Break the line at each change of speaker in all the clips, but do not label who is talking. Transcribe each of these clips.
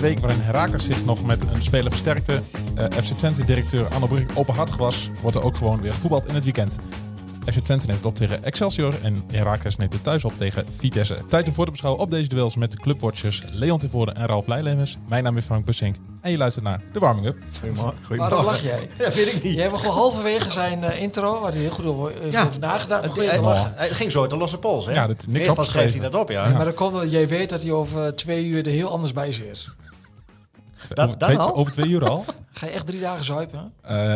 week waarin Herakles zich nog met een speler versterkte. eh, FC Twente-directeur Anne Brugge openhartig was, wordt er ook gewoon weer voetbald in het weekend. FC Twente neemt het op tegen Excelsior en Herakles neemt het thuis op tegen Vitesse. Tijd om voor te beschouwen op deze duels met de clubwatchers Leon Tevoren en Ralf Blijlemmers. Mijn naam is Frank Bussink en je luistert naar de warming up.
Waarom lach jij?
Dat weet ik niet.
Je hebt gewoon halverwege zijn eh, intro, waar hij heel goed over eh,
Ja.
over nagedacht.
Het, eh,
Maar,
hij-
te lachen.
het ging zo uit de losse pols. Hè?
Ja, dat- niks
Meestal schreef hij
opgeschreven.
dat op, ja.
maar dat komt omdat jij weet dat hij over eh, twee uur er heel anders bij zit.
Dat-
Over
dat
twee-
al?
Over twee uur al.
Ga je echt drie dagen zuipen?
Eh,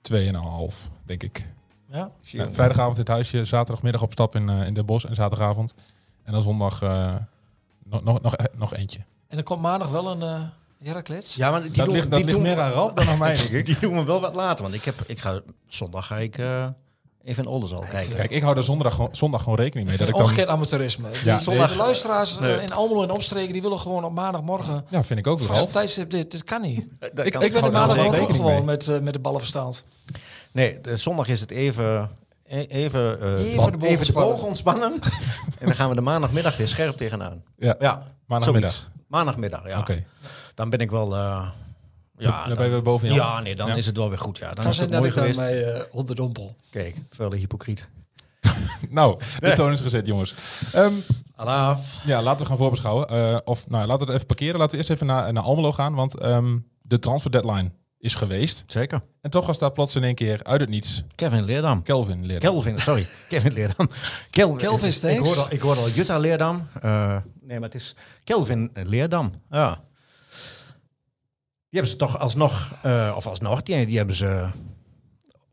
Tweeënhalf, denk ik.
Ja?
Ja, vrijdagavond in het huisje, zaterdagmiddag op stap in, eh in Den Bosch en zaterdagavond. En dan zondag eh, nog, nog, nog, nog eentje.
En er komt maandag wel een eh Heracles.
Ja, maar die
dat
doen,
ligt, dat
die
ligt
doen,
meer aan Ralf dan aan mij, denk ik.
Die doen we wel wat later. Want ik heb, ik ga, zondag ga ik eh, even in Oldenzaal kijken.
Kijk, ik hou daar zondag, gewoon- zondag gewoon rekening mee. Dat ik dan,
Ongekend amateurisme. Die
Ja,
zondag-
nee.
de luisteraars eh,
Nee.
in Almelo en omstreken, die willen gewoon op maandagmorgen...
ja, vind ik ook,
Vast op
Ralf.
tijdstip, dit, dit kan niet.
Eh, daar
ik-
kan
Ik ben
hou daar wel
er
gewoon
maandagmorgen
zeker-
rekening
gewoon
mee.
met, eh, met de ballenverstand.
Nee, de- zondag is het even... e- Even, eh,
Even
bal-
de boog
even de
ontspannen.
boog ontspannen. en dan gaan we de maandagmiddag weer scherp tegenaan.
Ja,
Ja,
maandagmiddag.
zoiets. Maandagmiddag, ja.
Oké.
Dan ben ik wel... eh,
Ja,
ja,
dan ben je weer boven jou.
Ja, nee, dan
Ja.
is het wel weer goed. Ja. Dan
Dan
is
zijn
het
dat
mooi
ik
geweest.
daarmee eh onderdompel.
Kijk, vuile hypocriet.
Nou, de toon is gezet, jongens. Ehm,
Alaaf.
ja, laten we gaan voorbeschouwen. Eh, of nou, laten we het even parkeren. Laten we eerst even naar, naar Almelo gaan. Want ehm, de transfer deadline is geweest.
Zeker.
En toch was daar plots in één keer uit het niets
Kevin Leerdam.
Kelvin leren.
Kelvin, sorry. Kevin Leerdam. Kel,
Kelvin
ik,
Steeks.
hoorde al, ik hoorde al Jutta Leerdam. Eh, nee, maar het is Kelvin Leerdam. Ja. Die hebben ze toch alsnog, eh, of alsnog, die, die hebben ze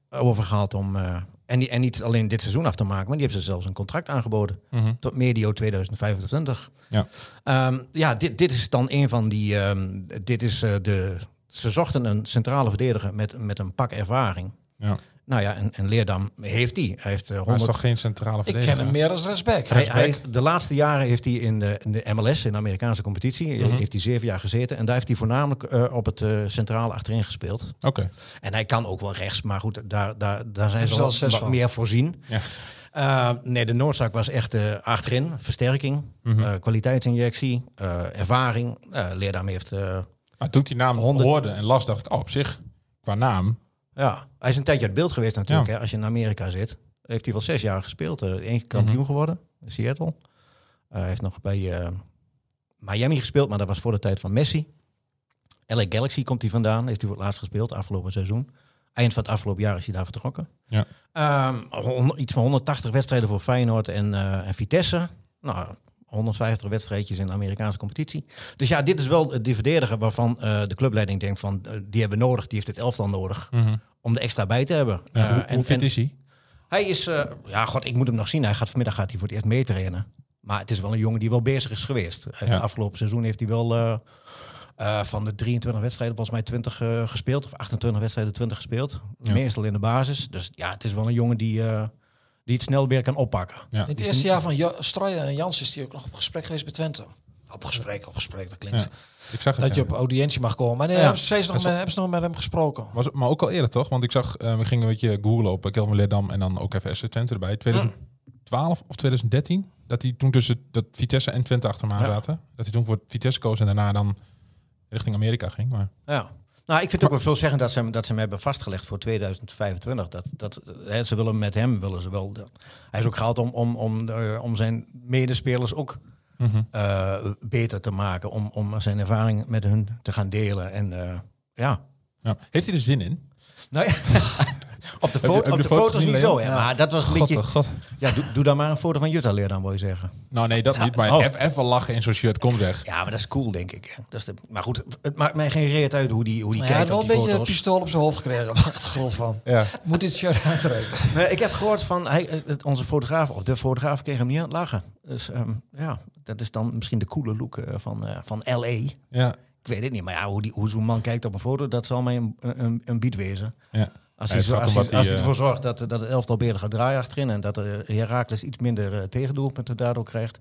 overgehaald om... eh, en, die, en niet alleen dit seizoen af te maken, maar die hebben ze zelfs een contract aangeboden.
Mhm.
Tot medio 2025.
Ja.
Ehm, ja, dit, dit is dan een van die... ehm, dit is eh, de... Ze zochten een centrale verdediger met, met een pak ervaring.
Ja.
Nou ja, en, en Leerdam heeft die. Hij heeft eh,
Maar hij is
100...
toch geen centrale
Ik
verdediger?
ken hem meer als rechtsback.
Hij, hij heeft- de laatste jaren heeft hij in de, in de MLS, in de Amerikaanse competitie, eh,
Mhm.
heeft hij zeven jaar gezeten. En daar heeft hij voornamelijk eh, op het eh, centrale achterin gespeeld.
Oké.
En hij kan ook wel rechts, maar goed, daar, daar, daar zijn
ze
ze
al
wel
zes
wat
van.
meer voorzien.
Ja.
Eh, nee, de noordzaak was echt eh, achterin, versterking,
Mhm.
eh, kwaliteitsinjectie, eh, ervaring. Eh Leerdam heeft, eh,
Maar toen ik die naam
Honderd-
hoorde en las, dacht ik, oh, op zich, qua naam.
ja, hij is een tijdje uit beeld geweest natuurlijk.
Ja.
Hè, als je in Amerika zit, heeft hij wel zes jaar gespeeld. Eén keer kampioen
Mhm.
geworden in Seattle. Eh, Hij heeft nog bij eh, Miami gespeeld, maar dat was voor de tijd van Messi. LA Galaxy komt hij vandaan, heeft hij voor het laatst gespeeld afgelopen seizoen. Eind van het afgelopen jaar is hij daar vertrokken.
Ja.
Ehm, hon- iets van 180 wedstrijden voor Feyenoord en, eh, en Vitesse. Nou, 150 wedstrijdjes in de Amerikaanse competitie. Dus ja, dit is wel eh, de verdediger waarvan eh, de clubleiding denkt van... eh, die hebben we nodig, die heeft het elftal nodig om er extra bij te hebben.
Mhm. Ja,
Eh,
hoe, hoe fit
en
is hij?
hij is, eh, ja, god, ik moet hem nog zien. Hij gaat vanmiddag gaat hij voor het eerst meetrainen. Maar het is wel een jongen die wel bezig is geweest. Hij heeft
Ja.
het afgelopen seizoen heeft hij wel eh, eh, van de 23 wedstrijden volgens mij 20 eh, gespeeld. Of 28 wedstrijden 20 gespeeld.
Ja.
Meestal in de basis. Dus ja, het is wel een jongen die, eh, die het snel weer kan oppakken.
Ja.
In het
Nou, Die
eerste
is
jaar van jo Strooijen en Jans is die ook nog op gesprek geweest bij Twente. Op gesprek, op gesprek, dat klinkt.
Ja, Ik zag het.
Dat je
ja.
op audiëntie mag komen. Maar nee,
Ja.
hebben, ze steeds nog
Dat
met,
is
hebben ze nog met hem gesproken?
Was, het- maar ook al eerder, toch? Want ik zag, eh, we gingen een beetje googlen op eh, Kelvin Leerdam en dan ook even FC Twente erbij. 2012 of 2013, dat hij toen tussen dat Vitesse en Twente achter me aan
Ja.
zaten. Dat hij toen voor Vitesse koos en daarna dan richting Amerika ging. Maar
Ja. Nou, ik vind het ook wel veel zeggen dat ze, hem- dat ze hem hebben vastgelegd voor 2025. Dat, dat, hè, ze willen met hem, willen ze wel. dat- hij is ook gehaald om, om, om, eh, om zijn medespelers ook
Mhm.
eh, beter te maken. Om, om zijn ervaring met hun te gaan delen. En eh, ja.
ja. heeft hij er zin in?
Nou ja. op de,
je-
fo-
heb je
op
de
de
foto's
foto's,
gezien,
niet
Leon?
zo, hè,
Ja.
maar dat was een
God,
beetje...
oh, god.
Ja, doe, doe dan maar een foto van Jutta leer dan, wil je zeggen.
Nou nee, dat niet. Maar
Oh.
even, even lachen in zo'n shirt, kom zeg.
Ja, maar dat is cool, denk ik. Dat is de, maar goed, het maakt mij geen reet uit hoe die, hoe die
Nou Ja, hij had
kijkt
wel
op
een
die
beetje een
foto's.
pistool op zijn hoofd gekregen op de achtergrond van.
Ja.
Moet dit shirt uittrekken?
Nee, Eh, ik heb gehoord van hij, eh, het- onze fotograaf, of de fotograaf kreeg hem niet aan het lachen. Dus ehm, ja, dat is dan misschien de coole look eh, van, eh, van LA.
ja.
Ik weet het niet, maar ja, hoe, die, hoe zo'n man kijkt op een foto, dat zal mij een, een, een beat wezen.
ja.
Als
Ja,
hij,
het
zo,
gaat
als
om
hij,
wat hij,
als hij
eh,
ervoor zorgt dat, dat het elftal beter gaat draaien achterin en dat de Herakles iets minder eh, tegendoelpunten daardoor krijgt,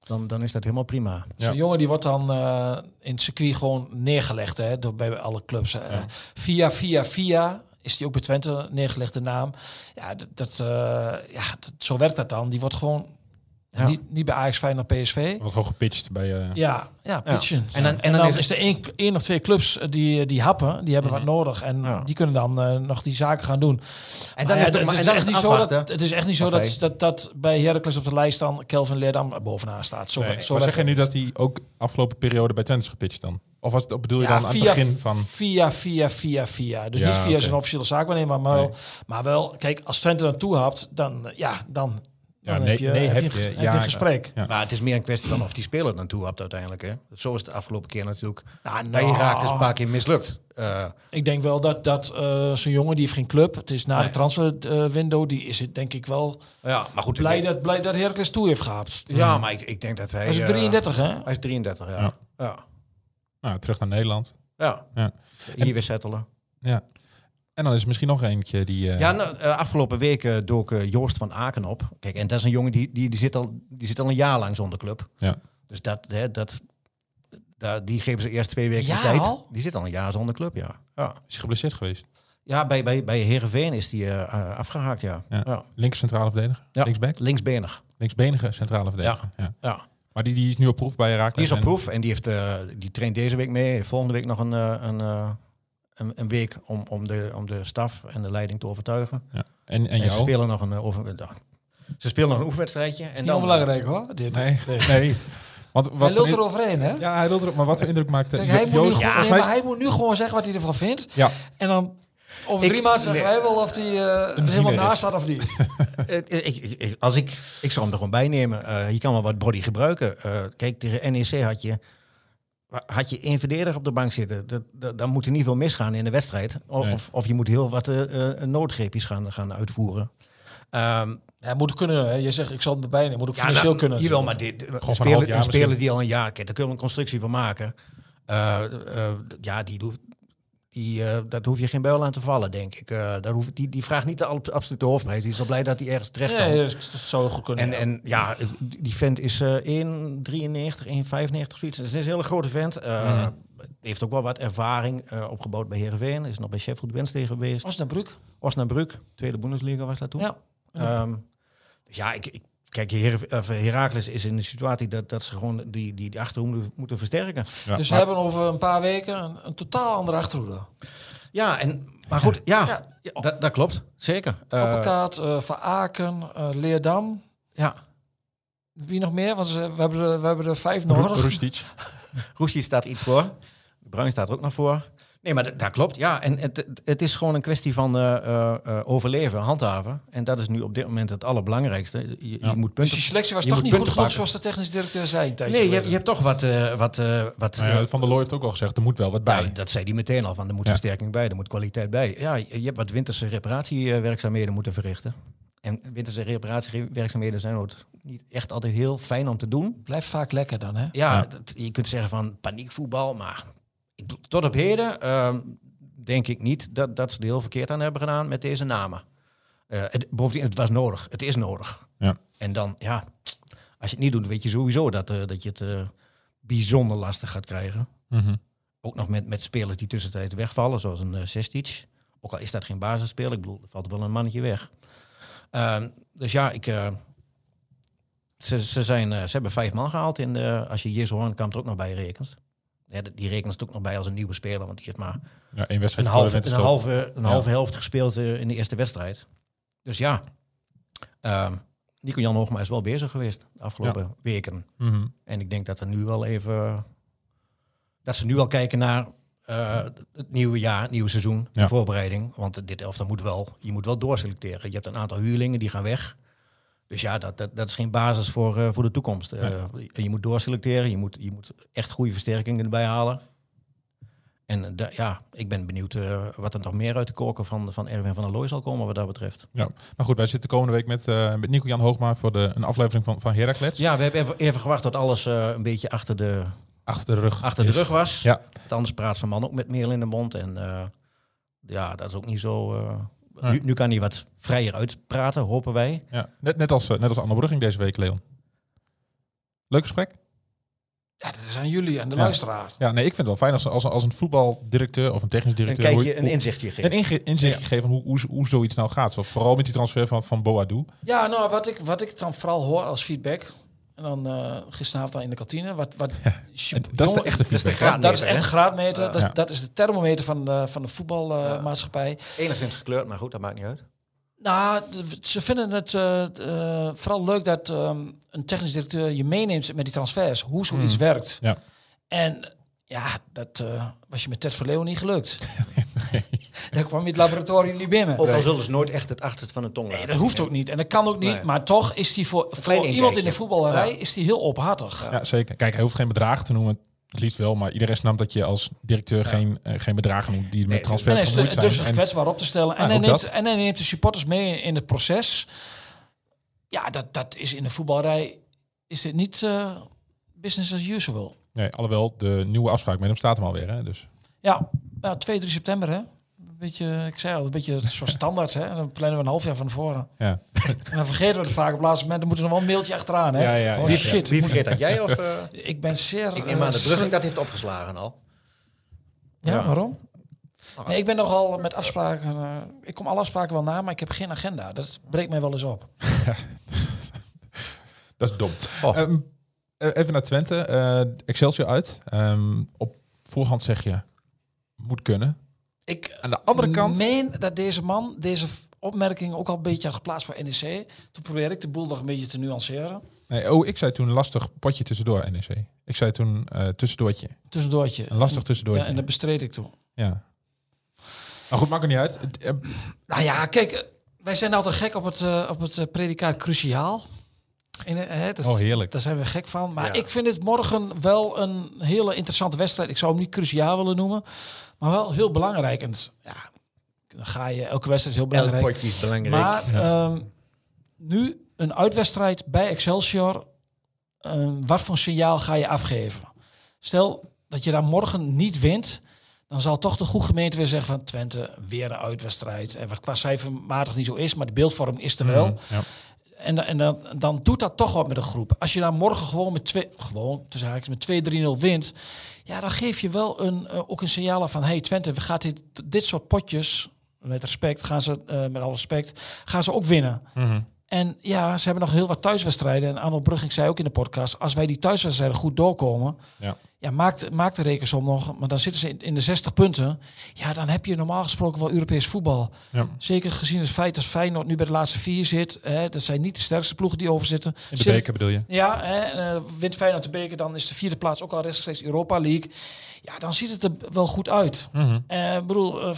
dan, dan is dat helemaal prima.
Ja.
Zo'n jongen die wordt dan eh, in het circuit gewoon neergelegd hè, door, bij alle clubs. eh. Via, via, via is die ook bij Twente neergelegd, de naam. Ja, dat, dat, eh, ja dat, zo werkt dat dan. Die wordt gewoon... En
Ja.
niet, niet bij Ajax, Feyenoord, PSV.
Wat hoog gepitcht bij... eh,
Ja, ja, pitchen.
En dan- en dan is
is,
het- Mhm.
er één, één of twee clubs eh, die, die happen, die hebben wat nodig. En
Ja.
die kunnen dan eh, nog die zaken gaan doen.
En dan
Maar
is
ja,
het- maar-
het
en dan is
echt
het
niet zo dat,
afwachten.
het is echt niet zo
Of
dat,
hij-
dat, dat bij Heracles op de lijst dan Kelvin Leerdam bovenaan staat. Zo,
nee.
zo
maar
weg-
zeg je nu dat hij ook afgelopen periode bij Twente is gepitcht dan? Of was het, bedoel je
Ja,
dan aan
via-
het begin van...
Via, via, via, via. Dus
Ja,
niet via
oké.
zijn officiële zaakwaarnemer, maar,
Nee.
wel- maar wel, kijk, als Twente naartoe hapt, dan, eh, ja, dan,
Ja,
dan
nee-
heb je,
nee,
heb
heb
je,
je.
heb je
Ja,
een
ja.
gesprek.
Ja.
Maar het is meer een kwestie van of die speler het naartoe had uiteindelijk. Hè? Zo is het de afgelopen keer natuurlijk.
Nou,
Bij
nou,
Irak is een paar keer mislukt. Eh,
Ik denk wel dat, dat eh, zo'n jongen, die heeft geen club. Het is na
Nee.
de transferwindow, die is het denk ik wel
ja, maar goed. ik
blij
denk-
dat, blij dat Heracles toe heeft gehapt.
Ja, maar ik, ik denk dat hij...
Hij is ook
eh,
33, hè?
hij is 33, ja.
Ja.
Ja. ja.
Nou, terug naar Nederland. Ja.
Hier weer settelen.
En dan is er misschien nog eentje die... eh,
Ja, nou, eh, afgelopen week eh, dook eh, Joost van Aken op. Kijk, en dat is een jongen die, die, die, zit, al, die zit al een jaar lang zonder club.
Ja.
Dus dat, hè, dat, daar- die geven ze eerst twee weken
Ja,
de tijd.
al?
Die zit al een jaar zonder club, ja. Ja,
is geblesseerd geweest.
ja bij, bij, bij Heerenveen is die eh, eh, afgehaakt, ja.
Ja.
ja.
Links centrale verdediger.
Ja.
Linksback.
Linksbenig,
Linksbenige centrale verdediger. Ja.
ja.
Maar die, die is nu op proef bij Herakles.
Die is op
en-
proef en die, heeft, eh, die traint deze week mee. Volgende week nog een, eh, een, eh, een, een week om, om, de, om de staf en de leiding te overtuigen.
En, en
En, ze
jou?
spelen nog een, eh, over, eh, ze spelen nog een oefenwedstrijdje. En
Niet onbelangrijk, hoor. Dit.
Nee. nee. Want
Hij
wat voor
lult
in-
eroverheen, hè?
Ja, hij lult erop. Maar wat voor indruk maakte
Kijk,
Jo-
hij, moet nu,
Joost?
gewoon-
volgens mij-
nee, maar hij moet nu gewoon zeggen wat hij ervan vindt.
Ja.
En dan over
Ik-
drie maanden zeggen
nee.
wij wel of hij eh, er helemaal
ziener is.
naast staat of niet.
Eh, eh, ik, ik- ik- als ik, ik zou hem er gewoon bij nemen. Eh, je kan wel wat body gebruiken. Eh, kijk, tegen NEC had je, had je één verdediger op de bank zitten. Dat, dat, dan moet er niet veel misgaan in de wedstrijd. Of,
Nee.
of, of je moet heel wat eh, eh, noodgreepjes gaan, gaan uitvoeren. Ehm,
Hij moet kunnen. Hè. Je zegt, ik zal het erbij nemen. Moet ook
Ja,
financieel
nou,
kunnen.
Jawel, maar dit, een
van een half
speler,
jaar
een speler
misschien.
die al een jaar kent, daar kunnen we een constructie van maken. Eh, eh, d- ja, die hoeft, die, eh, dat hoef je geen buil aan te vallen, denk ik. Eh, daar hoef, die, die vraagt niet de ab- absolute hoofdprijs. Die is al blij dat hij ergens terecht kan.
eh,
Nee, dat dat zou goed kunnen.
en,
ja.
en ja, die vent is eh 1,93, 1,95, zoiets. Dus het is een hele grote vent. Eh,
Mhm.
Heeft ook wel wat ervaring eh, opgebouwd bij Heerenveen. Is nog bij Sheffield Wednesday geweest.
Osnabrück.
Osnabrück, tweede Bundesliga was dat toen.
Ja.
Ehm, dus ja, ik, ik, kijk, Her of Heracles is in de situatie dat, dat ze gewoon die, die, die achterhoede moeten, versterken.
Ja,
dus
maar-
we hebben over een paar weken een, een totaal andere achterhoede.
Ja, en, maar goed, ja,
Ja.
ja, dat, dat klopt. Zeker. Eh,
Appelkaart, eh Van Aken, eh, Leerdam.
ja,
Wie nog meer? Want ze, we, hebben er, we hebben er vijf
Ru-
nodig.
Rustic.
Roesje staat iets voor. Bruin staat er ook nog voor. Nee, maar dat, dat klopt. Ja, en het, het- het is gewoon een kwestie van eh, eh, eh, overleven, handhaven. En dat is nu op dit moment het allerbelangrijkste. Je, je
Ja.
moet
Dus
punten...
die selectie was
je
toch
moet
niet goed
punten
genoeg
pakken.
zoals de technisch directeur zei. een tijdje
Nee, je, hebt-
geleden.
je hebt toch wat... eh, wat, eh, wat
Nou
eh,
ja, Van der Looy heeft ook al gezegd, er moet wel wat bij.
Ja, dat zei hij meteen al, van er moet
Ja.
versterking bij, er moet kwaliteit bij. Ja, je je hebt wat winterse reparatiewerkzaamheden moeten verrichten. En winterse reparatiewerkzaamheden zijn ook niet echt altijd heel fijn om te doen.
Blijft vaak lekker dan, hè?
Ja,
Ja.
dat- je kunt zeggen van paniekvoetbal, maar ik bedoel, tot op heden ehm, denk ik niet dat, dat ze er heel verkeerd aan hebben gedaan met deze namen. Eh, het, bovendien, het was nodig. Het is nodig.
Ja.
En dan, ja, als je het niet doet, weet je sowieso dat, eh, dat je het eh, bijzonder lastig gaat krijgen.
Mhm.
Ook nog met, met spelers die tussentijds wegvallen, zoals een eh, Sestic. Ook al is dat geen basisspeler, ik bedoel, er valt wel een mannetje weg. Ehm, dus ja, ik, eh, ze, ze, zijn, eh, ze hebben vijf man gehaald. In de, als je Jez Hoornkamp er ook nog bij rekent. Ja, d- die rekent het ook nog bij als een nieuwe speler, want die heeft maar
Ja, één
een
wedstrijd voor de
halve, een
winterstop.
halve, een
Ja.
halve helft gespeeld eh, in de eerste wedstrijd. Dus ja, ehm, Nico-Jan Hoogma is wel bezig geweest de afgelopen weken.
Mhm.
En ik denk dat er nu wel even. Dat ze nu al kijken naar eh, het nieuwe jaar, het nieuwe seizoen,
Ja.
de voorbereiding. Want dit elftal moet wel, je moet wel doorselecteren. Je hebt een aantal huurlingen die gaan weg. Dus ja, dat, dat, dat is geen basis voor, eh, voor de toekomst. Eh, je moet doorselecteren, je moet, je moet echt goede versterkingen erbij halen. En eh, da- ja, ik ben benieuwd eh, wat er nog meer uit de koken van, van Erwin van der Looy zal komen wat dat betreft.
Maar goed, wij zitten komende week met, eh, met Nico-Jan Hoogma voor de, een aflevering van, van Heracles.
Ja, we hebben even, even gewacht tot alles eh, een beetje achter de,
Achter de rug.
achter de
is.
rug was.
Ja.
Want anders praat zo'n man ook met meel in de mond. En eh, ja, dat is ook niet zo... eh,
Nee.
nu, nu kan hij wat vrijer uitpraten, hopen wij.
Ja. Net, net, als, eh, net als Anne Brugging deze week, Leon. Leuk gesprek?
Ja, dat is aan jullie en de
Ja.
luisteraar.
Ja, nee, ik vind het wel fijn als, als, als een voetbaldirecteur of een technisch
Een
directeur... hoe
kijkje,
je-
een inzichtje
een
geeft.
inge- inzicht geven hoe, hoe, hoe zoiets nou gaat. Zo, vooral met die transfer van, van Boadu.
Ja, nou, wat ik, wat ik dan vooral hoor als feedback, En dan eh, gisteravond al in de kantine. Wat, wat,
En dat is de echte
is de
feedback.
graad.
dat is
graadmeter,
echt
hè?
een graadmeter. dat, is,
Ja.
dat is de thermometer van de, van de voetbalmaatschappij. Eh,
e- Enigszins gekleurd, maar goed, dat maakt niet uit.
Nou, d- ze vinden het eh, eh, vooral leuk dat ehm, een technisch directeur je meeneemt met die transfers, hoe zoiets
Hmm.
werkt.
Ja.
En ja, dat eh, was je met Ted Verleeuwen niet gelukt. Daar kwam je het laboratorium niet binnen.
Ook al zullen ze nooit echt het achterste van de tong laten.
Nee, dat hoeft ook niet en dat kan ook niet,
Nee.
maar toch is die voor, voor
klein
iemand in de
inkijkje.
voetballerij
Ja.
is die heel openhartig.
Ja, zeker. Kijk, hij hoeft geen bedrag te noemen. Het liefst wel, maar iedereen snapt dat je als directeur geen, eh, geen bedragen noemt die met
En
transfers
hij is
gemoeid
du-
zijn.
dus zich
En-
kwetsbaar op te stellen.
Ja,
en, hij
ook
neemt,
dat.
en hij neemt de supporters mee in het proces. Ja, dat, dat is in de voetbalrij is dit niet eh, business as usual.
nee, alhoewel, de nieuwe afspraak met hem staat hem alweer. Hè? Dus,
Ja, ja 2, 3 september hè. Een beetje, ik zei al, een beetje zoals standaard hè. Dan plannen we een half jaar van tevoren.
ja.
En dan vergeten we het vaak op het laatste moment. Dan moeten we nog wel een mailtje achteraan hè.
Ja, ja,
Van,
ja.
Wie,
shit,
wie vergeet dat? Jij of... eh,
ik ben zeer...
ik neem aan
eh,
de brug dat heeft opgeslagen al.
Ja,
Ja.
waarom?
Oh.
Nee, ik ben nogal met afspraken. eh, ik kom alle afspraken wel na, maar ik heb geen agenda. Dat breekt mij wel eens op.
Dat is dom.
Oh.
Ehm, eh, even naar Twente. Eh, Excelsior uit. Ehm, op voorhand zeg je, moet kunnen.
Ik
Aan de andere kant...
meen dat deze man deze opmerking ook al een beetje had geplaatst voor NEC. Toen probeer ik de boel nog een beetje te nuanceren.
Nee, oh, ik zei toen lastig potje tussendoor, NEC. Ik zei toen eh tussendoortje.
Tussendoortje.
Een lastig
ja,
tussendoortje.
en dat bestreed ik toen.
Ja. Maar goed, maakt er niet uit. Het, eh,
Nou ja, kijk, eh, wij zijn altijd gek op het, eh, op het eh, predicaat cruciaal. En, eh, hè, dat,
Oh, heerlijk.
Daar zijn we gek van. Maar
Ja.
ik vind het morgen wel een hele interessante wedstrijd. Ik zou hem niet cruciaal willen noemen, maar wel heel belangrijk. En het- ja, dan ga je elke wedstrijd is heel
Elk
belangrijk.
potje is belangrijk.
Maar ehm, nu een uitwedstrijd bij Excelsior. Ehm, wat voor signaal ga je afgeven? Stel dat je daar morgen niet wint. Dan zal toch de goede gemeente weer zeggen van Twente, weer een uitwedstrijd. En wat qua cijfermatig niet zo is, maar de beeldvorm is
Mhm.
er wel.
ja.
En, da- en dan, dan doet dat toch wat met de groep. Als je daar morgen gewoon met twee, gewoon, tussen haakjes, met 2-3-0 wint. Ja, dan geef je wel een, eh, ook een signaal af van... hey Twente, we gaan dit, dit soort potjes, met respect, gaan ze, eh, met alle respect, gaan ze ook winnen.
Mhm.
En ja, ze hebben nog heel wat thuiswedstrijden. En Arnold Brugging zei ook in de podcast... als wij die thuiswedstrijden goed doorkomen...
Ja.
Ja, maak, maak de rekensom nog, maar dan zitten ze in, in de 60 punten. Ja, dan heb je normaal gesproken wel Europees voetbal.
Ja.
Zeker gezien het feit dat Feyenoord nu bij de laatste vier zit. Hè, dat zijn niet de sterkste ploegen die over zitten.
In de
Zit-
beker bedoel je?
Ja, hè, eh, wint Feyenoord de beker, dan is de vierde plaats ook al rechtstreeks Europa League. Ja, dan ziet het er wel goed uit.
Mhm.
Eh, Ik bedoel, eh,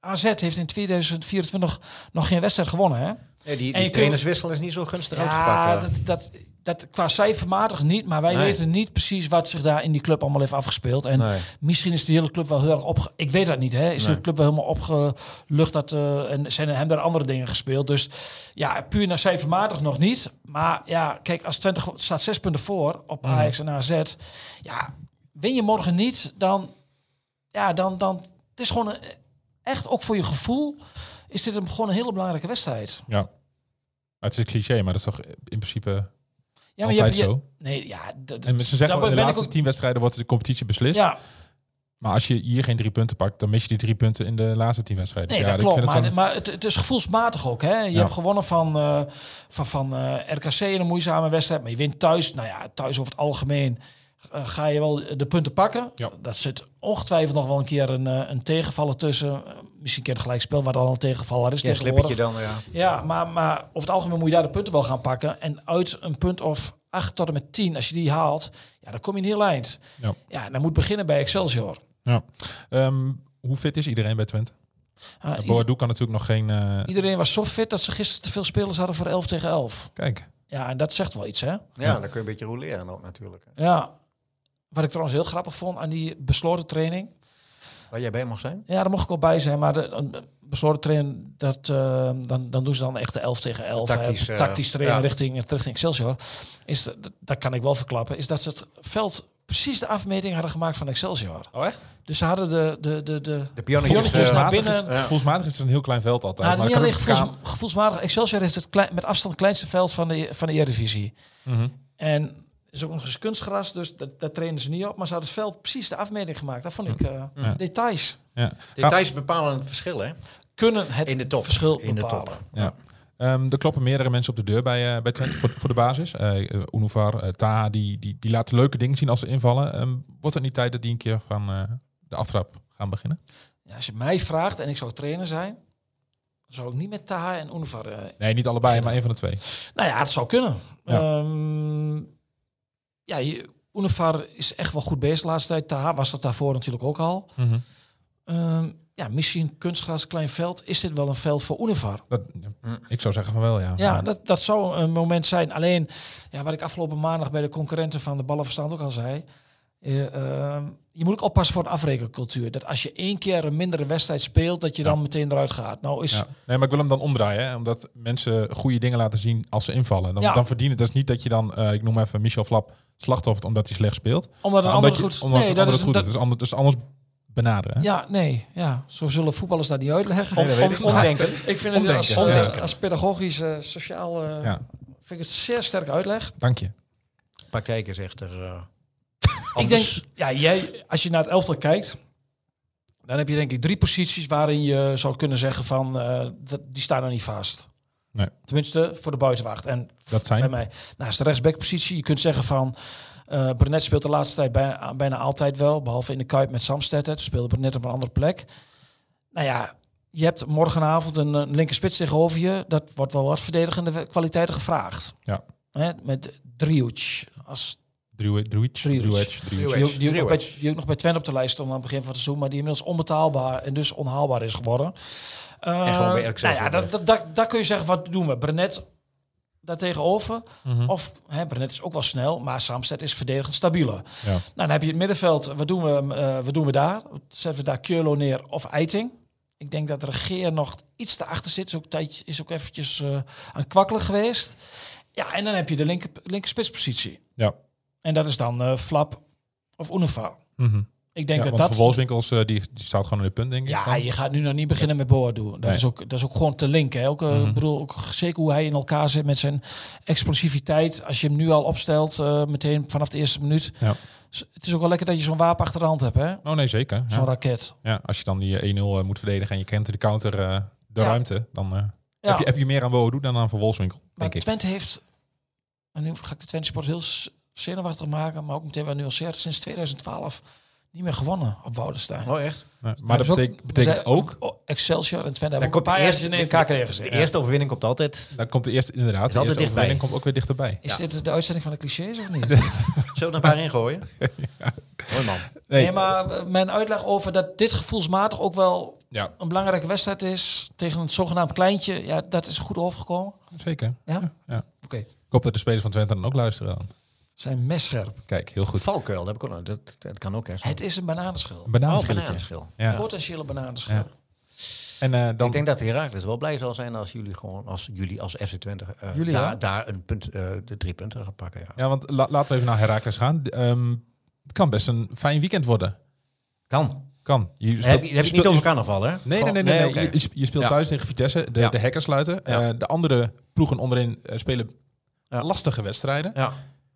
AZ heeft in 2024 nog geen wedstrijd gewonnen, hè?
Nee, die
En je
die
kunt-
trainerswissel is niet zo gunstig
Ja,
uitgepakt. eh.
dat, dat, dat qua cijfermatig niet, maar wij
Nee.
weten niet precies wat zich daar in die club allemaal heeft afgespeeld. En
Nee.
misschien is de hele club wel heel erg opge... Ik weet dat niet, hè? Is de
Nee.
club wel helemaal opgelucht dat, eh, en zijn er hem daar andere dingen gespeeld? Dus ja, puur naar cijfermatig nog niet. Maar ja, kijk, als Twente go- staat zes punten voor op
Mhm.
Ajax en AZ. Ja, win je morgen niet, dan... Ja, dan... dan het is gewoon een- echt ook voor je gevoel... Is dit een, gewoon een hele belangrijke wedstrijd?
Ja. Maar het is een cliché, maar dat is toch eh, in principe
Ja,
altijd
je hebt- je-
zo?
Nee, ja,
En
dat-
ze
daar
zeggen wel, in de
ben
laatste
ik ook-
tien wedstrijden wordt de competitie beslist.
Ja,
Maar als je hier geen drie punten pakt, dan mis je die drie punten in de laatste tien wedstrijden.
nee,
ja,
dat
ik
klopt.
vind
Maar,
het zo'n-
maar het, het is gevoelsmatig ook. Hè? Je
Ja.
hebt gewonnen van, eh, van, van eh, RKC in een moeizame wedstrijd. Maar je wint thuis. Nou ja, thuis over het algemeen eh, ga je wel de punten pakken.
Ja.
Dat zit ongetwijfeld nog wel een keer een, eh, een tegenvaller tussen. Eh, misschien een keer gelijk spel, waar dan al een tegenvaller is.
Ja, een slippertje
tegenwoordig.
dan, ja.
Ja, maar, maar over het algemeen moet je daar de punten wel gaan pakken. En uit een punt of 8 tot en met 10, als je die haalt, ja, dan kom je een heel eind.
Ja.
ja en dan moet beginnen bij Excelsior.
Ehm, hoe fit is iedereen bij Twente?
Ah,
Uh, Boadu kan natuurlijk nog geen... eh,
Iedereen was zo fit dat ze gisteren te veel spelers hadden voor 11 tegen 11.
kijk,
Ja, en dat zegt wel iets, hè?
Ja, dan kun je een beetje roleren ook natuurlijk.
Ja. Wat ik trouwens heel grappig vond aan die besloten training.
Waar jij bij mag zijn?
Ja, daar mocht ik wel bij zijn, maar de, een besloten training, dat, eh, dan, dan doen ze dan echt de 11 tegen 11. hè,
Tactisch, eh,
tactisch trainen
ja.
richting, richting Excelsior. Is, dat, dat kan ik wel verklappen, is dat ze het veld precies de afmeting hadden gemaakt van Excelsior.
Oh, echt?
Dus ze hadden de, de, de, de
De pionnetjes.
Pionnetjes
eh,
naar
Gevoelsmatig is,
binnen.
Ja.
gevoelsmatig is het een heel klein veld altijd.
Nou,
maar
niet
kan
alleen
ook
gevoels-
kaam-
gevoelsmatig. Excelsior heeft het klei- met afstand kleinste veld van de, van de Eredivisie.
Mhm.
En er is ook nog eens kunstgras, dus dat, daar trainen ze niet op. Maar ze hadden het veld precies de afmeting gemaakt. Dat vond
Hm.
ik eh,
Ja.
details.
Ja.
Details bepalen het verschil, hè?
Kunnen het
In de top.
verschil
In de
bepalen.
top.
Ja. Ehm, er kloppen meerdere mensen op de deur bij, eh bij Twente voor, voor de basis. Eh eh, Unuvar, eh, Taha, die, die, die laten leuke dingen zien als ze invallen. Ehm, wordt het niet tijd dat die een keer van eh, de aftrap gaan beginnen?
Ja, als je mij vraagt en ik zou trainer zijn, zou ik niet met Taha en Unvar. eh,
Nee, niet allebei, maar één van de twee.
nou ja, het zou kunnen.
Ja.
Ja, ja je- Unvar is echt wel goed bezig de laatste tijd. Taha was dat daarvoor natuurlijk ook al. Ehm, ja, misschien kunstgras, klein veld. Is dit wel een veld voor Unvar?
dat, ik zou zeggen van wel, ja.
Ja,
Maar-
dat, dat zou een moment zijn. Alleen, ja, wat ik afgelopen maandag bij de concurrenten van de Ballenverstand ook al zei. eh, ehm, je moet ook oppassen voor de afrekencultuur. Dat als je één keer een mindere wedstrijd speelt, dat je dan meteen eruit gaat. Nou is,
Ja. Nee, maar ik wil hem dan omdraaien. Hè? Omdat mensen goede dingen laten zien als ze invallen. Dan,
Ja.
dan verdienen het dus niet dat je dan, eh, ik noem even Michel Flap, slachtoffert omdat hij slecht speelt.
omdat een
Maar
ander
Nou, omdat je-
goed...
Omdat
nee,
een
dat
ander
is,
het goed doet.
dat-
Dus anders, dus anders benaderen. Hè?
Ja, nee. Ja. Zo zullen voetballers dat niet uitleggen.
Om- om- om-
Omdenken.
ik vind het als,
Omdenken.
eh,
Omdenken.
als pedagogisch, eh, sociaal... eh,
Ja.
Vind ik het zeer sterk uitleg.
Dank je.
Praktijk is echter... eh
Ik denk, ja, jij, als je naar het elftal kijkt, dan heb je denk ik drie posities waarin je zou kunnen zeggen van, eh, dat, die staan er niet vast.
Nee.
Tenminste, voor de buitenwacht. En
Dat
bij
zijn.
mij, naast de rechtsbackpositie, je kunt zeggen van, eh Brenet speelt de laatste tijd bijna, bijna altijd wel, behalve in de Kuip met Samstedt. hè. Toen speelde Brenet op een andere plek. Nou ja, je hebt morgenavond een, eh, linker spits tegenover je. Dat wordt wel wat verdedigende we- kwaliteiten gevraagd.
Ja.
Hè, met Driuc als
Druid, druid,
Druid.
druid, druid.
die
Drew
ook, die, ook nog bij,
Edge.
die ook nog bij Twente op de lijst stond aan het begin van het seizoen, maar die inmiddels onbetaalbaar en dus onhaalbaar is geworden. Eh,
En gewoon bij
nou
Excelsior
ja, dat,
blijft.
dat, dat, daar kun je zeggen, wat doen we? Brenet daartegenover.
Mhm.
Of hè, Brenet is ook wel snel, maar Samsted is verdedigend stabieler.
Ja.
Nou, dan heb je het middenveld. Wat doen we, eh, wat doen we daar? Zetten we daar Keurlo neer of Eiting? Ik denk dat de regeer nog iets te achter zit. Is ook, tijd, is ook eventjes eh, aan het kwakkelen geweest. Ja, en dan heb je de linker, linker spitspositie.
Ja.
En dat is dan eh, Flap of Unifar.
Mhm.
Ik denk
ja,
dat
want voor
dat...
Wolfswinkels, eh, die, die staat gewoon in de punt, denk ik.
Ja,
dan.
je gaat nu nog niet beginnen met Boadu. Dat,
Nee. Mhm.
is ook, dat is ook gewoon te linken. Hè. Ook, eh, ik bedoel, ook zeker hoe hij in elkaar zit met zijn explosiviteit. Als je hem nu al opstelt, eh, meteen vanaf de eerste minuut.
Ja.
Dus Het is ook wel lekker dat je zo'n wapen achter de hand hebt, hè?
Oh nee, zeker.
Zo'n
Ja.
raket.
Ja, als je dan die eh, 1-0 moet verdedigen en je kent de counter, eh, de
Ja.
ruimte, dan eh,
Ja.
heb, je, heb je meer aan Boadu dan aan Van Wolfswinkel,
maar
denk ik.
Twente heeft... En nu ga ik de Twente sport heel s- zenuwachtig maken, maar ook meteen wel nuanceerd. Sinds 2012 niet meer gewonnen op Woudenstein.
Oh, echt?
Nee, maar dat
Dus ook-
betek- betekent
zij-
ook,
oh, Excelsior en Twente
Dan
hebben ook een
komt de
paar
eerste,
eerste in elkaar
de,
kregen. ze.
de eerste overwinning komt altijd.
dan komt de eerste, inderdaad,
Is
de
altijd dichtbij.
eerste overwinning komt ook weer dichterbij.
Is dit de uitzending van de clichés of niet?
Zullen we er een paar ingooien? Mooi man.
Nee,
Nee, maar eh, mijn uitleg over dat dit gevoelsmatig ook wel
ja,
een belangrijke wedstrijd is tegen een zogenaamd kleintje, ja, dat is goed overgekomen.
zeker.
Ja?
Ja.
Oké.
Ik hoop dat de spelers van Twente dan ook luisteren dan.
Zijn messcherp.
Kijk, heel goed.
Valkuil, dat, heb ik ook nog. dat, dat kan ook. Hè, zo'n-
Het is een bananenschil.
Een
Oh,
bananenschilletje.
bananenschil.
ja.
Potentiële bananenschil.
Ja. En eh, dan...
Ik denk dat Herakles wel blij zal zijn als jullie gewoon als jullie als FC Twente eh,
Jullie,
daar,
ja.
daar een punt, eh, de drie punten gaan pakken. Ja.
Ja, want la- laten we even naar Herakles gaan. D- ehm, het kan best een fijn weekend worden.
Kan.
Kan. Je speelt-
Heb
je
je, heb je het
speelt-
niet over carnaval, hè?
Nee, nee,
Gewoon-
nee. nee, nee.
oké.
Je, je speelt
Ja.
thuis tegen Vitesse. De,
Ja.
de hekken sluiten. Eh,
Ja.
de andere ploegen onderin eh, spelen
Ja.
lastige wedstrijden.
Ja.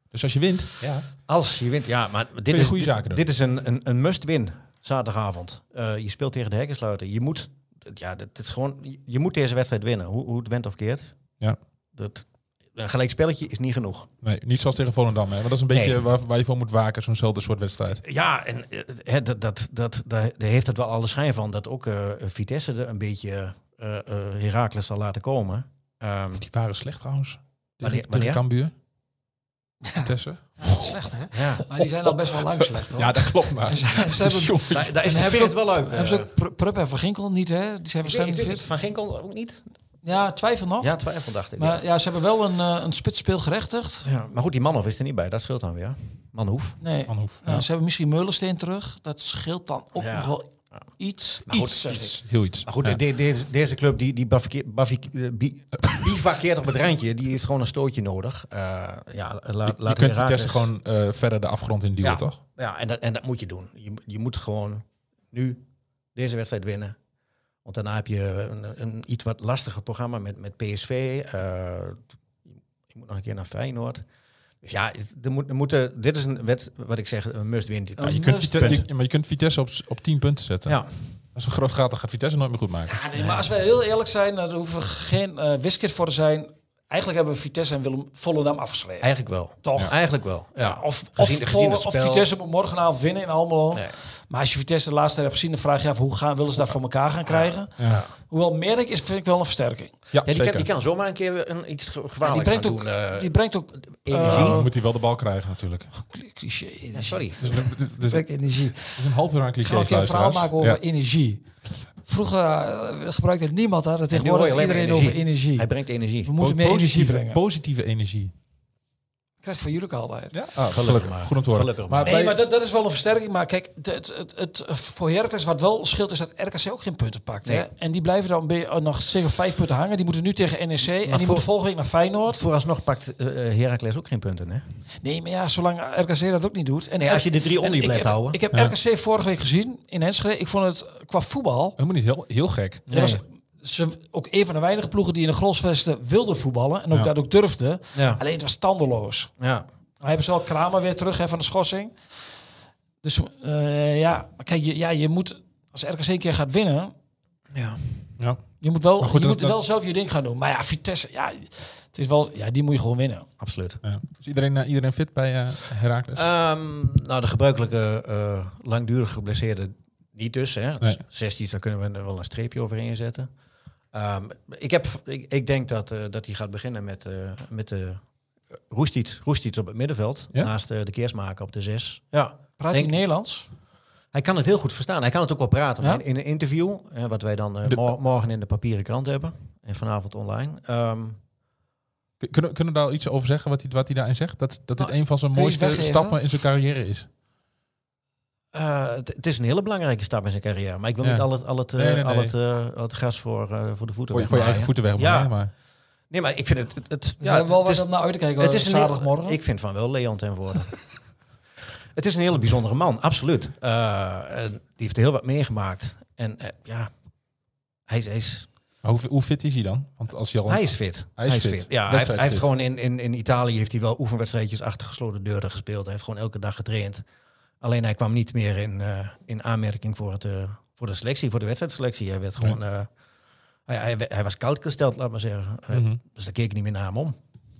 Dus als je wint... Ja.
Als
Je wint, ja, maar dit
je
is,
goede
dit-
zaken doen.
dit is een, een, een must-win zaterdagavond. Eh, je speelt tegen de hekkensluiter. Je moet, ja, dat, dat is gewoon, je moet deze wedstrijd winnen, hoe, hoe het went of keert.
Ja.
Dat, een gelijk spelletje is niet genoeg.
Nee, niet zoals tegen Volendam. Hè. Maar dat is een beetje
Nee.
waar, waar je voor moet waken. Zo'nzelfde soort wedstrijd.
Ja, en eh, hè, dat, dat, dat, daar daar heeft het wel alle schijn van dat ook eh, Vitesse er een beetje eh eh, Heracles zal laten komen. Ehm,
Die waren slecht trouwens.
Wanneer-
Tegen, tegen
wanneer? Oh.
Cambuur. Vitesse.
Slecht, hè?
ja.
Maar die zijn al best wel lang slecht, hoor.
Ja, dat klopt maar.
En ze, ze hebben,
daar, daar is
En
de
hebben
spirit
ze
wel uit.
hebben ze
eh.
ook Pr- Prupp en Van Ginkel niet, hè? Die
Ik weet-
zijn
ik
waarschijnlijk
weet-
fit.
Van Ginkel ook niet?
Ja, twijfel nog.
Ja, twijfel dacht ik.
Maar
ja.
ja, ze hebben wel een, eh, een spitspeel gerechtigd.
Ja,
Maar goed, die Manhoef is er niet bij. Dat scheelt dan weer. Manhoef.
Nee.
Manhoef,
Nou,
ja.
Ze hebben misschien Meulensteen terug. Dat scheelt dan ook
Ja.
nog wel iets.
goed,
iets, zeg
iets.
ik.
Heel iets.
Maar goed,
Ja.
de- de- deze- deze club die, die bavike- bavike- eh, bi- bivakkeert op het randje. Die heeft gewoon een stootje nodig. Eh, ja, la,
Je- je
laat
kunt
Heracles-
Vitesse gewoon eh, verder de afgrond in duwen,
Ja.
toch?
Ja, en dat, en dat moet je doen. Je, je moet gewoon nu deze wedstrijd winnen. Want daarna heb je een, een iets wat lastiger programma met, met PSV. eh, je moet nog een keer naar Feyenoord. Dus ja, het- er moet, er moeten, dit is een wet, wat ik zeg, een must-win. dit.
Ja, je
Een
kunt
must
Vitesse,
punt.
je- maar je kunt Vitesse op, op 10 punten zetten.
Ja,
is een groot gat, dan gaat Vitesse nooit meer goed maken.
Ja, nee, maar als we heel eerlijk zijn, dan hoeven we geen eh wiskit voor te zijn. Eigenlijk hebben we Vitesse en Willem Volendam afgeschreven.
Eigenlijk wel.
toch?
Ja. Eigenlijk wel. Ja.
Of, of,
Gezien- gezien het
Volen- of
spel.
Vitesse moet morgenavond winnen in Almelo.
Nee.
Maar als je Vitesse de laatste tijd hebt gezien, dan vraag je je af hoe gaan, willen ze dat voor elkaar gaan krijgen.
Ja.
Hoewel Merk is, vind ik wel een versterking.
Ja,
Ja, die,
zeker.
kan, die kan zomaar een keer weer een, iets ge-
die,
gevaarlijks gaan
brengt
doen.
ook,
eh,
die brengt ook
energie.
Dan moet hij wel de bal krijgen natuurlijk.
cliché.
ja, sorry.
Dus, het is-
Het werkt energie.
het is een half uur aan
Ik ga een
clichés,
keer een verhaal
luisteraars.
maken over
Ja.
energie. Vroeger eh, gebruikte niemand dat. en
nu hoor
Tegenwoordig
je alleen maar
iedereen
energie.
over energie.
Hij brengt energie.
We moeten
Po-
meer
positieve-
energie brengen.
Positieve energie.
Ik krijg van jullie ook altijd.
Ja, ah, gelukkig.
maar.
Goed om te horen.
Gelukkig maar.
bij-
Nee, maar dat, dat is wel een versterking. Maar kijk, het, het, het, het- voor Heracles wat wel scheelt is dat RKC ook geen punten pakt. Hè?
Nee.
En die blijven dan be- eh, nog zeker vijf punten hangen. Die moeten nu tegen NEC en die
voor-
moeten volgende week naar Feyenoord.
Vooralsnog pakt Heracles ook geen punten, hè?
Nee, maar ja, zolang RKC dat ook niet doet. En
Nee, als je de drie
en
onder je
ik
blijft
heb-
houden.
Ik heb
Ja.
RKC vorige week gezien in Enschede. Ik vond het qua voetbal...
Helemaal niet heel, heel gek.
dat was ze, ook een van de weinige ploegen die in de grosvesten wilden voetballen. En ook
Ja.
dat ook durfden.
Ja.
Alleen het was tandeloos.
ja.
Nou hebben ze wel Kramer weer terug hè, van de schorsing. Dus eh, ja, maar kijk, je, ja, je moet als RKC een keer gaat winnen,
ja.
Ja.
je moet wel,
Maar goed,
je
dat-
moet wel zelf je ding gaan doen. Maar ja, Vitesse, ja, het is wel, ja, die moet je gewoon winnen.
Absoluut.
Ja. Is iedereen, eh, iedereen fit bij eh Herakles?
Ehm, nou, de gebruikelijke eh langdurig geblesseerde niet dus. Hè.
Nee.
16, daar kunnen we er wel een streepje overheen zetten. Ehm, ik, heb, ik, ik denk dat, eh, dat hij gaat beginnen met, eh met de Roestic, Roestic op het middenveld.
Ja?
Naast eh, de keersmaker op de zes. Ja.
Praat
Denk-
je Nederlands?
Hij kan het heel goed verstaan. Hij kan het ook wel praten.
Ja?
In, in een interview, eh, wat wij dan eh,
De-
mor- morgen in de papieren krant hebben. En vanavond online. Ehm,
Kun- Kunnen, kunnen we daar iets over zeggen, wat hij, wat hij daarin zegt? Dat, dat dit
Nou,
een van zijn
kun je het
mooiste
weggeven?
stappen in zijn carrière is.
eh, het het is een hele belangrijke stap in zijn carrière. Maar ik wil
Ja.
niet al het, al het, eh,
Nee, nee, nee.
al het, eh, al het gas voor, eh, voor de voeten
Voor, je- voor je
wegmaaien.
eigen voeten weg.
Ja.
Maar, maar.
Nee, maar ik vind het... het, het-
Ja, wel
het
wat
is-
om naar uit te kijken. eh,
het is een heel-
zaterdagmorgen.
Ik vind van wel Leon ten voorde. het is een hele bijzondere man, absoluut. Eh, en die heeft heel wat meegemaakt. En eh, ja, hij is, hij, is,
Maar hoe, hoe fit is hij dan? Want als je al
hij is fit.
Hij is fit.
Ja, hij heeft, hij heeft
Wedstrijdfit.
gewoon in, in, in Italië heeft hij wel oefenwedstrijdjes achter gesloten deuren gespeeld. Hij heeft gewoon elke dag getraind. Alleen hij kwam niet meer in, eh, in aanmerking voor, het, eh, voor de selectie, voor de wedstrijdselectie. Hij werd gewoon... eh, hij, hij, hij was koud gesteld, laat maar zeggen. Eh,
Mhm.
dus daar keek ik niet meer naar hem om.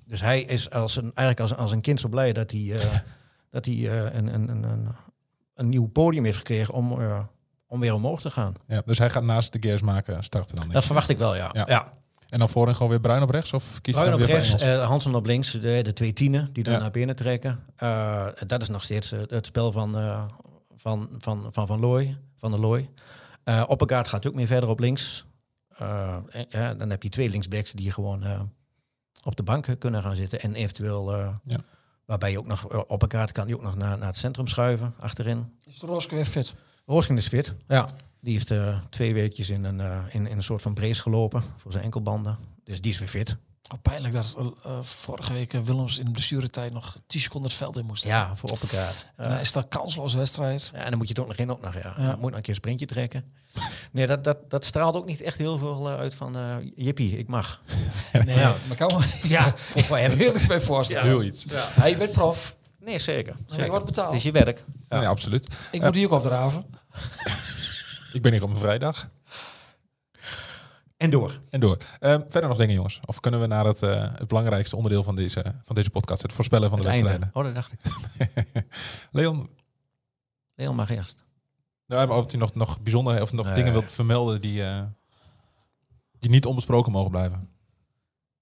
Dus hij is als een, eigenlijk als, als een kind zo blij dat hij, eh, dat hij eh, een, een, een, een, een nieuw podium heeft gekregen om, eh, om weer omhoog te gaan.
ja, dus hij gaat naast de gears maken starten dan. denk
Dat
ik.
verwacht ik wel, ja.
Ja.
ja.
En dan voorin gewoon weer bruin op rechts? Of kies je
Bruin
dan
op
weer voor
rechts,
Engels?
eh, Hansen op links, de, de twee tienen die dan
Ja.
naar binnen trekken. Eh, dat is nog steeds eh, het spel van eh, Van, van, van, van, Looy, van de Looy. Eh Oppegaard gaat ook meer verder op links. Eh, en, ja, dan heb je twee linksbacks die gewoon eh, op de banken kunnen gaan zitten. En eventueel, eh,
Ja.
waarbij je ook nog, eh, Oppegaard kan die ook nog naar, naar het centrum schuiven, achterin.
Is de Roske weer fit?
Roosking is fit. Ja. Die heeft eh, twee weekjes in een, eh, in, in een soort van brace gelopen voor zijn enkelbanden. Dus die is weer fit.
Oh, pijnlijk dat eh, vorige week eh, Willems in de blessuretijd nog 10 seconden het veld in moest.
Ja, voor Oppegaard.
En dan is dat een kansloze wedstrijd.
Ja, en dan moet je het ook nog in, ook nog, ja.
Ja.
Dan moet je nog een keer een sprintje trekken. Nee, dat, dat, dat straalt ook niet echt heel veel eh, uit van, eh jippie, ik mag.
Nee,
Ja.
maar kan me
Ja, voor, voor hem.
heel iets bij voorstellen.
Heel iets. Ja,
Hij bent prof.
Nee, zeker.
Je
zeker.
wordt betaald.
Het is je werk.
nee, absoluut.
ik moet hier ook opdraven.
Ik ben hier op een vrijdag.
En door.
En door. Ehm, verder nog dingen, jongens? Of kunnen we naar het, eh, het belangrijkste onderdeel van deze, van deze podcast, het voorspellen van de
Het einde.
wedstrijden?
Oh, dat dacht ik.
Leon,
Leon mag eerst.
nou, maar of je nog, nog bijzonder of nog
Nee.
dingen wilt vermelden die, eh, die niet onbesproken mogen blijven?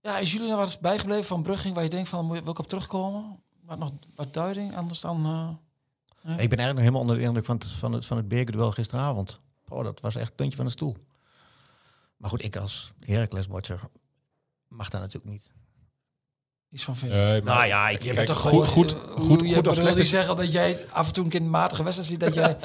Ja, is jullie nou wat bijgebleven van Brugging waar je denkt van moet je- wil ik op terugkomen? Wat nog wat duiding anders dan. eh,
Ik ben eigenlijk nog helemaal onder de indruk van het, van het, van het bekerduel gisteravond. Oh, dat was echt het puntje van de stoel. Maar goed, ik als Heracles-watcher mag daar natuurlijk niet.
iets van vinden?
Nee,
Nou ja, ik-
kijk,
Je bent toch
goed,
gewoon
goed,
eh,
goed,
hoe- je
goed of
bedoelt
slecht
niet
is
zeggen dat jij af en toe een keer een matige wedstrijd ziet dat jij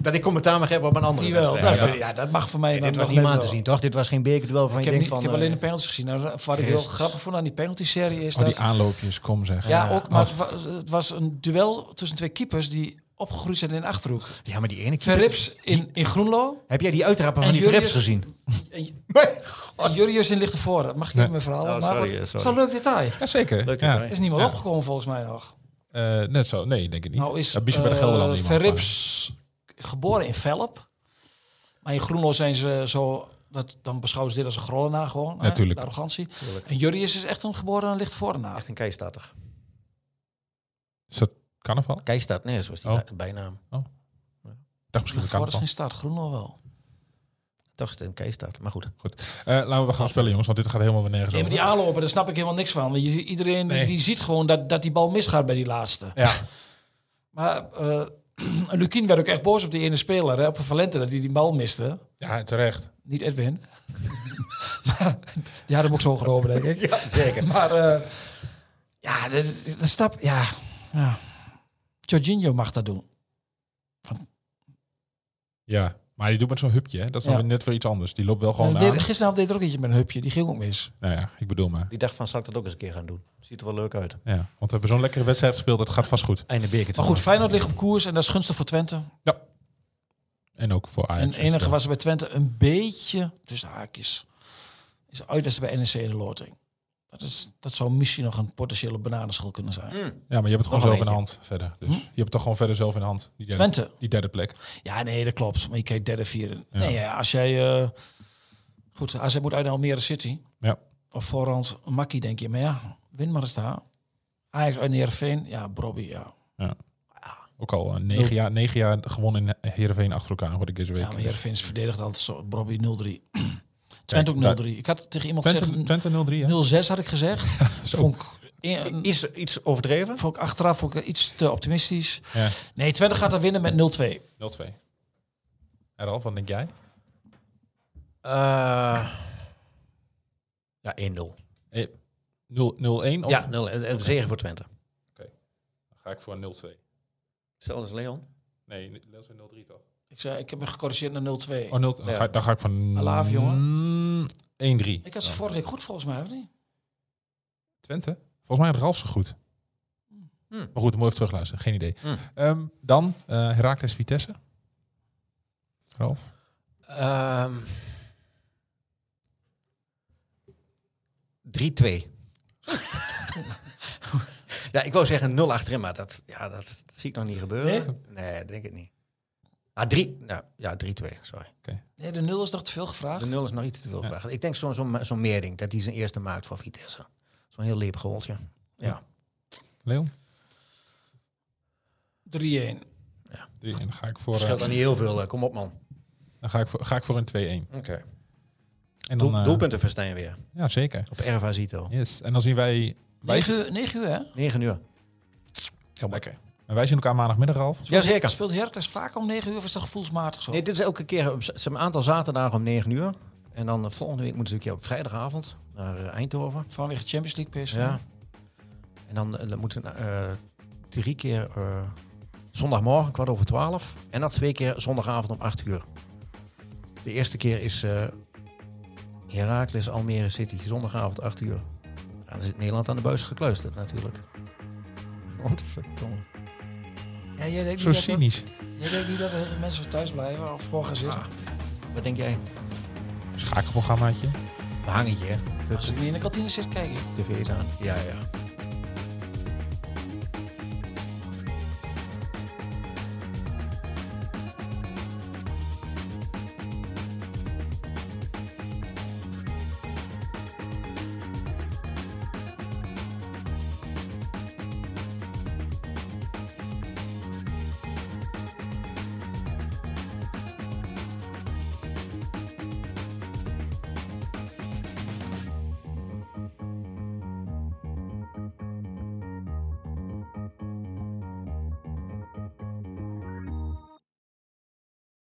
Dat ik commentaar mag hebben op een andere
die wel.
wedstrijd.
dat vind- Ja, dat mag voor mij.
Nee,
dan
dit was
nog
niet
net
aan te
wel.
zien, toch? Dit was geen bekerduel van
Ik
je
heb,
denkt
niet,
van...
ik heb
eh,
alleen de penalties gezien. Nou, wat ik heel
Christus.
grappig vond aan die penalty-serie is
Oh,
dat...
die aanloopjes, kom zeg.
ja, ook, maar
Oh,
het, wa- het was een duel tussen twee keepers die opgegroeid zijn in de Achterhoek.
Ja, maar die ene keer...
Verrips in, in Groenlo
Heb jij die uitrappen van
En
die
Jurrius-
Verrips gezien?
en, en Jurius in Lichtenvoorde. Mag ik
Nee.
niet mijn verhaal
Oh,
afmaken?
sorry,
Het is wel
sorry.
een leuk detail.
ja, zeker.
Leuk
ja.
detail.
Is niet meer
Ja.
opgekomen volgens mij nog.
Eh, net zo. Nee, denk ik niet.
Nou is
ja, Bishop bij de
eh,
Gelderland iemand,
Verrips geboren in Velp. Maar in Groenlo zijn ze zo... Dat, dan beschouwen ze dit als een Grolenaar gewoon. hè,
Natuurlijk.
de arrogantie.
Tuurlijk.
En Jurrius is echt een geboren lichtvoordenaar.
Echt een keistatter.
Is dat carnaval? Ik
Keistad, nee, zo is die
Oh.
bij- bijnaam.
dacht misschien wel
Lichtvoorde is
carnaval.
geen staat, Groenlo wel.
Toch is het een keistart. Maar goed.
Eh, laten we gaan spelen, jongens, want dit gaat helemaal weer nergens
Nee, maar
over.
die aanlopen, daar snap ik helemaal niks van. Want je, iedereen die-
Nee.
die ziet gewoon dat, dat die bal misgaat bij die laatste.
Ja,
Maar eh Lukien werd ook echt boos op die ene speler, hè, op Valente, dat hij die bal miste.
ja, terecht.
Niet Edwin. Maar die had hem ook zo genomen, denk ik.
Ja, zeker.
Maar eh, ja, dat, dat stap, ja, ja. Jorginho mag dat doen.
Ja, maar die doet met zo'n hupje, hè. dat is nog
Ja.
weer net weer iets anders. Die loopt wel
En
gewoon
deed-
aan.
gisteravond deed er ook eentje met een hupje, die ging ook mis.
Nou ja, ik bedoel maar.
Die dacht van, zal ik dat ook eens een keer gaan doen? Ziet er wel leuk uit.
Ja, want we hebben zo'n lekkere wedstrijd gespeeld, het gaat vast goed.
Einde beker. te
Maar goed,
doen.
Feyenoord ligt op koers en dat is gunstig voor Twente.
En ook voor Ajax.
En het enige
Zo.
was er bij Twente een beetje tussen haakjes. Is een uitwedstrijd bij NEC in de loting. Dat, is, dat zou misschien nog een potentiële bananenschil kunnen zijn.
Ja, maar je hebt het gewoon
Nog
zelf
een
in de hand verder.
Hm?
Dus je hebt het toch gewoon verder zelf in de hand. Die derde,
Twente.
die derde plek.
Ja, nee, dat klopt. Maar je kijkt derde, vierde. Nee, ja, als jij... eh, goed, AZ moet uit naar Almere City.
Ja.
Op voorhand een makkie, denk je. Maar ja, win maar eens daar. Ajax uit naar Heerenveen. Ja, Bobby, ja.
Ook al eh, negen, jaar, negen jaar gewonnen in eh, Heerenveen achter elkaar, hoorde ik deze week.
Ja, maar Heerenveen is verdedigd altijd zo. Bobby 0-3.
Kijk,
Twente ook 0-3. Ik had tegen iemand
Twente,
gezegd...
Twente 0-3, hè?
0-6 had ik gezegd.
Zo.
Vond ik, eh,
Iets, iets overdreven?
Vond ik achteraf vond ik dat iets te optimistisch.
Ja.
Nee, Twente gaat daar winnen met 0-2.
0-2. En Ralf, wat denk jij?
Eh, ja, 1-0.
0-1 of
Ja, 0. Een een zege voor Twente.
ga ik voor 0-2?
Stel als Leon.
Nee, Leels 0-3 toch?
Ik zei, ik heb me gecorrigeerd naar 0-2.
Oh, 0 dan,
Ja.
ga, dan ga ik mm, van...
Alaaf, jongen.
1-3.
Ik had ze vorige week goed volgens mij, of niet?
Twente? Volgens mij had Ralf ze goed.
Hmm.
Maar goed, mooi even terugluisteren. Geen idee.
Hmm.
Ehm, dan eh Heracles Vitesse. Ralf?
Ehm 3-2. ja, ik wou zeggen 0 achterin, maar dat, ja, dat, zie ik nog niet gebeuren. Nee, dat denk ik niet. Ah, 3. Nou, ja, 3-2, sorry.
Nee, de 0 is nog te veel
De
gevraagd.
0 is nog iets te veel
Ja.
vragen. Ik denk zo'n zo'n zo'n meerding, dat hij zijn eerste maakt voor Vitesse. Zo'n heel leep goaltje.
Leon?
3-1.
3-1. Dan ga ik voor, eh,
Verschilt dan niet heel veel, eh, kom op man.
dan ga ik voor, ga ik voor een 2-1.
Oké.
En dan,
Doel,
eh,
doelpunten verstijn weer.
Ja, zeker.
Op Erva Zito.
Yes. En dan zien wij... wij
9 uur, 9 uur, hè?
9 uur.
Lekker. En wij zien elkaar maandagmiddag, Ralf.
Jazeker.
Speelt Heracles vaak om 9 uur of is dat gevoelsmatig zo?
Nee, dit is elke keer op z- ze hebben een aantal zaterdagen om 9 uur. En dan eh, volgende week moeten ze een keer op vrijdagavond naar eh, Eindhoven.
Vanwege Champions League PSV.
Ja. En dan, eh, dan moeten ze eh, drie keer eh, zondagmorgen kwart over twaalf. En dan twee keer zondagavond om 8 uur. De eerste keer is eh Heracles Almere City, zondagavond 8 uur. Ja, dan zit Nederland aan de buis gekluisterd natuurlijk. Want verdomme.
Ja, jij denkt
Zo
niet dat-
cynisch.
jij denkt niet dat er heel veel mensen voor thuis blijven of voor gaan zitten.
Ah, Wat denk jij?
Schakelprogrammaatje.
Een hangetje, hè?
Als ik niet in de kantine zit, kijk ik.
tv's aan. Ja, ja.